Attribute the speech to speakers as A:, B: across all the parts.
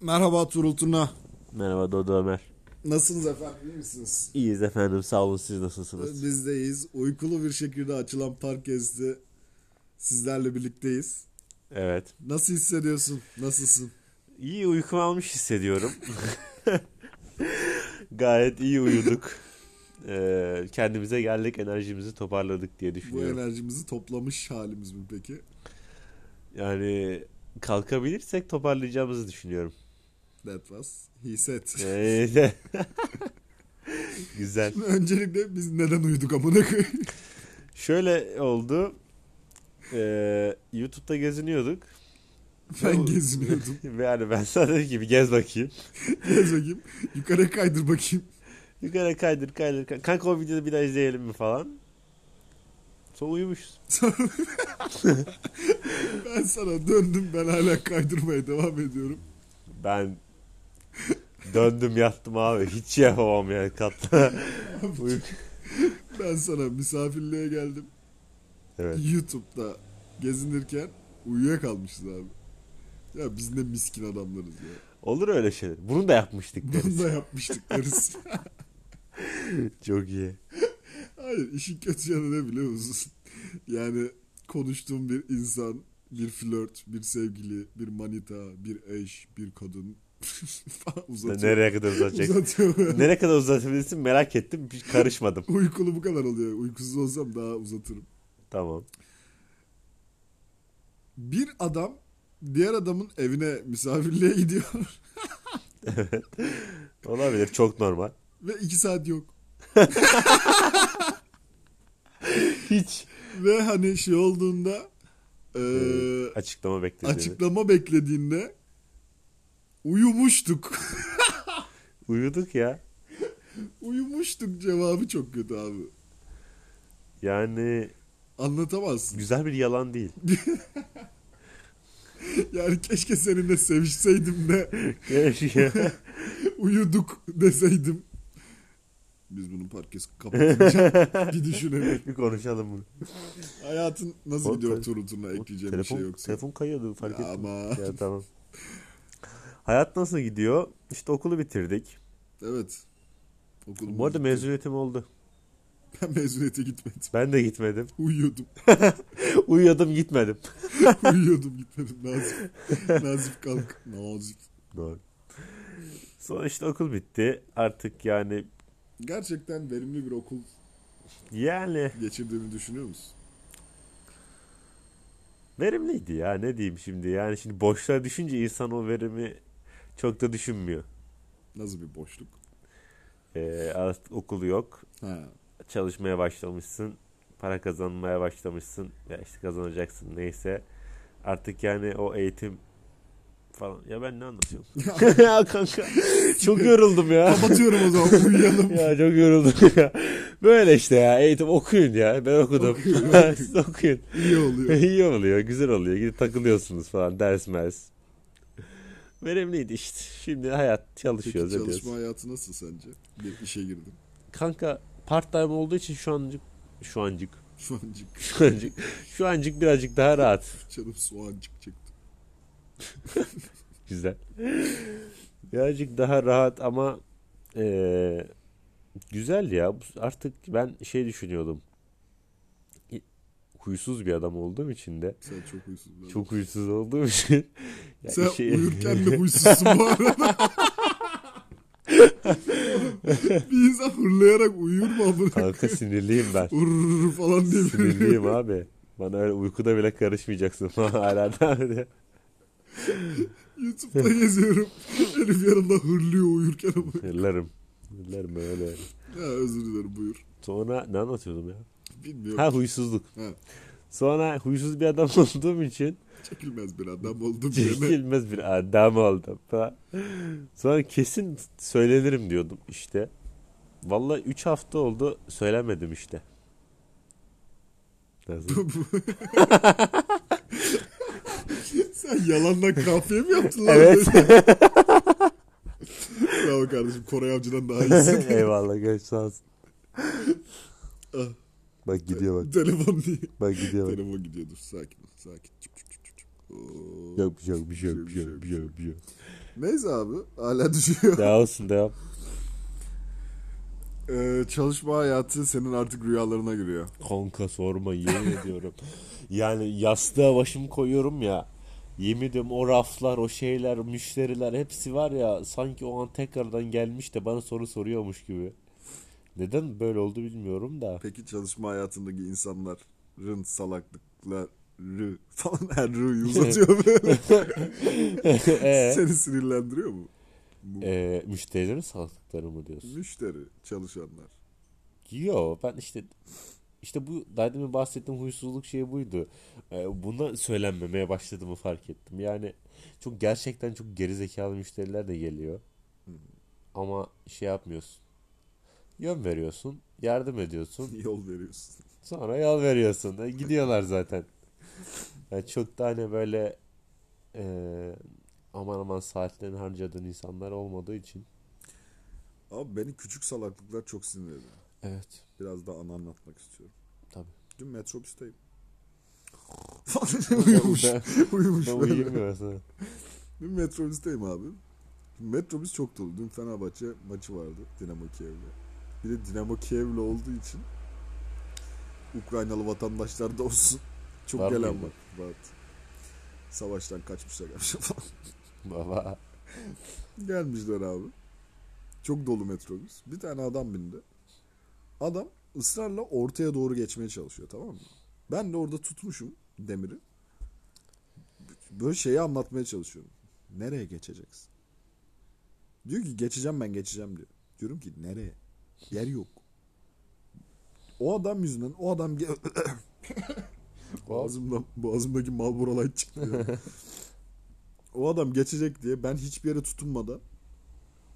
A: Merhaba Turul Turna.
B: Merhaba Dodo Ömer.
A: Nasılsınız efendim? iyi misiniz?
B: İyiyiz efendim sağ olun siz nasılsınız?
A: Bizdeyiz. Uykulu bir şekilde açılan park gezdi. Sizlerle birlikteyiz.
B: Evet.
A: Nasıl hissediyorsun? Nasılsın?
B: İyi uykum almış hissediyorum. Gayet iyi uyuduk. Ee, kendimize geldik enerjimizi toparladık diye
A: Bu
B: düşünüyorum.
A: enerjimizi toplamış halimiz mi peki?
B: Yani kalkabilirsek toparlayacağımızı düşünüyorum.
A: That was he said.
B: Ee, Güzel.
A: Öncelikle biz neden uyuduk amına koyayım?
B: Şöyle oldu. Ee, YouTube'da geziniyorduk.
A: Ben
B: Ne-
A: geziniyordum.
B: Yani ben sana dedim ki bir gez bakayım.
A: Gez bakayım. Yukarı kaydır bakayım.
B: Yukarı kaydır kaydır. kay- Kanka o videoyu bir daha izleyelim mi falan. Sonra uyumuşuz.
A: Ben sana döndüm ben hala kaydırmaya devam ediyorum.
B: Ben döndüm yattım abi. Hiç şey yapamam yani katta. Uyum-
A: Ben sana misafirliğe geldim.
B: evet.
A: YouTube'da gezinirken uyuyakalmışız abi. Ya biz ne miskin adamlarız ya.
B: Olur öyle şeyler. Bunu da yapmıştık
A: Bunu
B: deriz.
A: da yapmıştık deriz.
B: Çok iyi.
A: Hayır işin kötü yanı ne biliyor musun? Yani konuştuğum bir insan, bir flört, bir sevgili, bir manita, bir eş, bir kadın falan uzatıyor.
B: Nereye kadar uzatacak?
A: uzatıyor.
B: Nereye kadar uzatabilirsin merak ettim. Hiç karışmadım.
A: Uykulu bu kadar oluyor. Uykusuz olsam daha uzatırım.
B: Tamam.
A: Bir adam diğer adamın evine misafirliğe gidiyor
B: Olabilir. Çok normal.
A: ve iki saat yok.
B: Hiç.
A: Ve hani şey olduğunda eee,
B: Ee, Açıklama beklediğini.
A: açıklama beklediğinde uyumuştuk.
B: Uyuduk ya.
A: uyumuştuk cevabı çok kötü abi.
B: Yani
A: Anlatamazsın.
B: güzel bir yalan değil.
A: Yani keşke seninle sevişseydim de
B: şey
A: uyuduk deseydim. Biz bunun parkesi kapatmayacağız. bir düşünelim.
B: bir konuşalım bunu.
A: Hayatın nasıl
B: Oğlum,
A: gidiyor
B: te-
A: Turul Turna ekleyeceğim bir
B: telefon,
A: şey yoksa.
B: Telefon kayıyordu fark
A: Ya
B: ettim.
A: ama-
B: Ya tamam. Hayat nasıl gidiyor? İşte okulu bitirdik.
A: Evet. Okulum
B: Bu arada mezuniyetim oldu.
A: Ben mezuniyete gitmedim.
B: Ben de gitmedim.
A: Uyuyordum.
B: Uyuyordum gitmedim.
A: Uyuyordum gitmedim. Nazif. Nazif kalk. Nazif.
B: Doğru. Sonra işte okul bitti. Artık yani
A: Gerçekten verimli bir okul
B: yani
A: geçirdiğimi düşünüyor musun?
B: verimliydi ya ne diyeyim şimdi. Yani şimdi boşluğa düşünce insan o verimi çok da düşünmüyor.
A: Nasıl bir boşluk?
B: Ee, artık okulu yok.
A: Ha.
B: çalışmaya başlamışsın, para kazanmaya başlamışsın, ya işte kazanacaksın neyse. Artık yani o eğitim falan. Ya ben ne anlatıyorum? ya kanka çok yoruldum ya.
A: Kapatıyorum o zaman uyuyalım.
B: ya çok yoruldum ya. Böyle işte ya eğitim okuyun ya. Ben okudum. Siz okuyun.
A: İyi oluyor.
B: İyi oluyor, güzel oluyor. Gidip takılıyorsunuz falan ders mers. Verimliydi işte. Şimdi hayat
A: Peki
B: çalışıyoruz
A: çalışma
B: ediyoruz.
A: hayatı nasıl sence? Bir işe girdim.
B: Kanka part time olduğu için şu ancık şu ancık
A: Şu ancık
B: Şu ancık, şu ancık birazcık daha rahat.
A: canım soğancık çıktı.
B: Güzel. Birazcık daha rahat ama eee, güzel ya. Bu- Artık ben şey düşünüyordum. İ- Huysuz bir adam olduğum için de.
A: Sen çok huysuz. bir
B: Çok huysuz olduğum için. ya
A: Sen
B: işe-
A: uyurken de huysuzsun bu arada. bir insan hırlayarak uyur mu amına?
B: Kanka sinirliyim ben.
A: Urrr falan diye böyle.
B: sinirliyim abi. Bana öyle uykuda bile karışmayacaksın falan hala devam ediyor.
A: YouTube'da geziyorum. Herif yanımda hırlıyor uyurken ama.
B: Hırlarım. Hırlarım ben öyle.
A: Ya özür dilerim buyur.
B: Sonra ne anlatıyordum ya?
A: Bilmiyorum.
B: Ha huysuzluk.
A: Ha.
B: Sonra huysuz bir adam olduğum için
A: Çekilmez bir adam oldum yerine.
B: çekilmez bir adam oldum. falan. Sonra kesin söylenirim diyordum işte. Vallahi 3 hafta oldu söylemedim işte. Nasıl?
A: Sen yalanla kafiye mi yaptın lan?
B: evet.
A: Bravo kardeşim Koray Avcı'dan daha iyisin.
B: Eyvallah genç sağ olsun.
A: Ah.
B: Bak gidiyor bak.
A: Telefon diye.
B: Bak gidiyor bak.
A: Telefon gidiyor dur sakin ol sakin. Çık, çık, çık, çık, çık. Oo.
B: Yok bir şey yok bir şey yok bir şey yok bir şey yok. bir şey yok.
A: Neyse abi hala düşüyor.
B: Devam olsun devam.
A: Ee, çalışma hayatı senin artık rüyalarına giriyor.
B: Kanka sorma yemin ediyorum. Yani yastığa başımı koyuyorum ya. Yemin ediyorum o raflar, o şeyler, müşteriler hepsi var ya sanki o an tekrardan gelmiş de bana soru soruyormuş gibi. Neden böyle oldu bilmiyorum da.
A: Peki çalışma hayatındaki insanların salaklıkları falan her rüyü uzatıyor böyle.
B: Ee?
A: Seni sinirlendiriyor mu? Bu
B: Ee, müşterilerin salaklıkları mı diyorsun?
A: müşteri, çalışanlar.
B: Yo ben işte işte bu daha demin bahsettiğim huysuzluk şey buydu. Ee, buna söylenmemeye başladığımı fark ettim. Yani çok gerçekten çok gerizekalı müşteriler de geliyor. Ama şey yapmıyorsun. Yön veriyorsun, yardım ediyorsun,
A: Yol veriyorsun.
B: sonra yol veriyorsun. E, Gidiyorlar zaten. Yani çok da hani böyle e, aman aman saatlerini harcadığın insanlar olmadığı için.
A: Abi beni küçük salaklıklar çok sinir ediyor.
B: Evet,
A: Biraz daha anı anlatmak istiyorum.
B: tabii.
A: Dün metrobüsteyim. uyumuş.
B: Ben-
A: uyumuş.
B: Ben
A: böyle.
B: uyuyamıyorum.
A: Dün metrobüsteyim abi. Metrobüs çok dolu. Dün Fenerbahçe maçı vardı Dinamo Kiev'le. Bir de Dinamo Kiev'le olduğu için Ukraynalı vatandaşlar da olsun. Çok
B: Var
A: gelen
B: mıydı?
A: var. Rahat. Savaştan kaçmışlar gelmişler falan.
B: Baba.
A: Gelmişler abi. Çok dolu metrobüs. Bir tane adam bindi. Adam ısrarla ortaya doğru geçmeye çalışıyor tamam mı? Ben de orada tutmuşum demiri. Böyle şeyi anlatmaya çalışıyorum. Nereye geçeceksin? Diyor ki geçeceğim ben geçeceğim diyor. Diyorum ki nereye? Yer yok. O adam yüzünden o adam ge- Boğazımdan, boğazımdaki Marlboro Light çıktı. ya. o adam geçecek diye ben hiçbir yere tutunmadan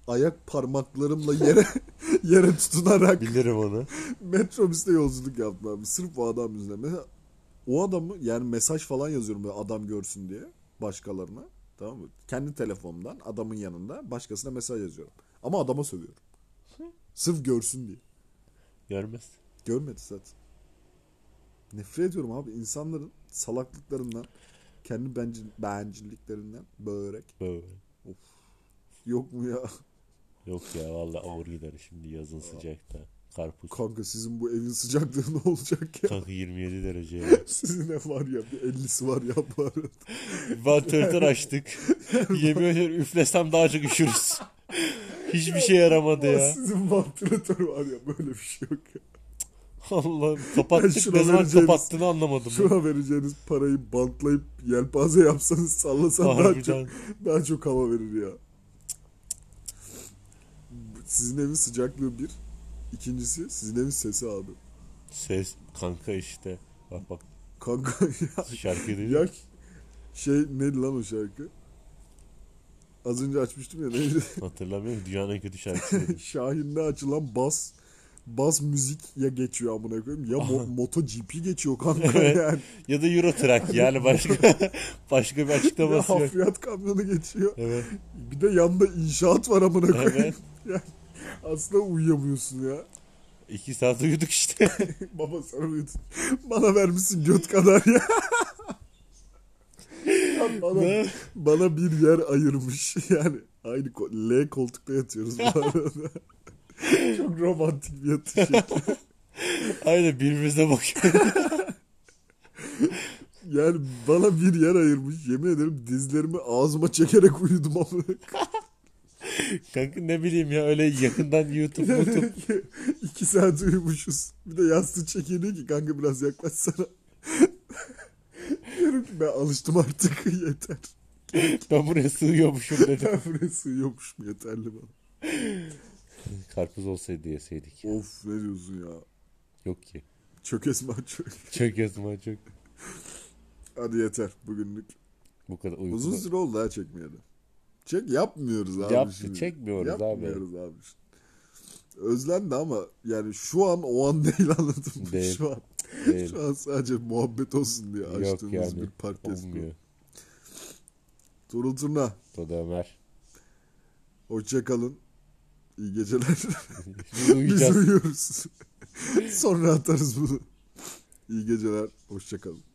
A: ayak parmaklarımla yere yere tutunarak
B: Bilirim onu.
A: metrobüste yolculuk yaptım abi. Sırf o adam yüzünden. Mesela o adamı yani mesaj falan yazıyorum böyle adam görsün diye başkalarına. Tamam mı? Kendi telefonumdan adamın yanında başkasına mesaj yazıyorum. Ama adama sövüyorum. Sırf görsün diye.
B: Görmez.
A: Görmedi zaten. Nefret ediyorum abi insanların salaklıklarından, kendi bencil, bencilliklerinden börek.
B: Böyle.
A: Yok mu ya?
B: Yok ya valla ağır gider şimdi yazın sıcakta. Karpuz.
A: Kanka sizin bu evin sıcaklığı ne olacak ya?
B: Kanka 27 derece ya.
A: Sizin ne var ya? Bir 50'si var ya bu arada.
B: Vantilatör açtık. Yemin ediyorum üflesem daha çok üşürüz. Hiçbir şey yaramadı ya.
A: Sizin vantilatör var ya böyle bir şey yok ya.
B: Allah'ım
A: Ben
B: kapattık
A: şuna
B: ne zaman
A: vereceğimiz-
B: kapattığını anlamadım. ben.
A: Şuna vereceğiniz parayı bantlayıp yelpaze yapsanız sallasan daha çok,
B: Harbiden.
A: daha çok hava verir ya. Sizin evin sıcaklığı bir. İkincisi sizin evin sesi abi.
B: Ses kanka işte. Bak bak
A: Kanka ya.
B: şarkı
A: Ya
B: değil.
A: şey neydi lan o şarkı? Az önce açmıştım ya neydi?
B: Hatırlamıyorum dünyanın en kötü şarkısı. dedi.
A: Şahin'de açılan bas bas müzik ya geçiyor amına koyayım ya mo- MotoGP geçiyor kanka
B: Evet.
A: yani.
B: ya da Euro Truck yani başka başka bir
A: Ya
B: açıklaması yok.
A: hafriyat kamyonu geçiyor.
B: Evet.
A: Bir de yanında inşaat var amına koyayım.
B: Evet.
A: Yani aslında uyuyamıyorsun ya.
B: İki saat uyuduk işte.
A: Baba sana uyudun. Bana vermişsin göt kadar ya. Ya bana,
B: Ne?
A: bana bir yer ayırmış. Yani aynı ko- L koltukta yatıyoruz bu arada. Çok romantik bir yatış. şekli.
B: Aynen birbirimize bakıyoruz.
A: Yani bana bir yer ayırmış. Yemin ederim dizlerimi ağzıma çekerek uyudum ama.
B: Kanka ne bileyim ya öyle yakından YouTube YouTube.
A: İki saat uyumuşuz. Bir de yastığı çekiliyor ki kanka biraz yaklaşsana. Diyorum ki ben alıştım artık yeter.
B: Ben buraya sığıyormuşum dedim.
A: Ben buraya sığıyormuşum yeterli bana.
B: Karpuz olsaydı yeseydik.
A: Of ne diyorsun ya.
B: Yok ki.
A: Çökesme çök.
B: Çok yazma çok.
A: Hadi yeter bugünlük.
B: Bu kadar
A: Uzun
B: uyku.
A: süre oldu ha çekmeyeli. Çek yapmıyoruz abi
B: Yap-
A: şimdi.
B: çekmiyoruz abi.
A: Yapmıyoruz abi. şimdi. Özlendi ama yani şu an o an değil anladın mı?
B: Değil.
A: Şu an,
B: Değil.
A: şu an sadece muhabbet olsun diye
B: Yok
A: açtığımız
B: yani.
A: bir podcast bu.
B: Olmuyor.
A: Turul Turna.
B: O da Ömer.
A: Hoşçakalın. İyi geceler.
B: Biz
A: Biz
B: uyuyacağız.
A: uyuyoruz. Sonra atarız bunu. İyi geceler. Hoşçakalın.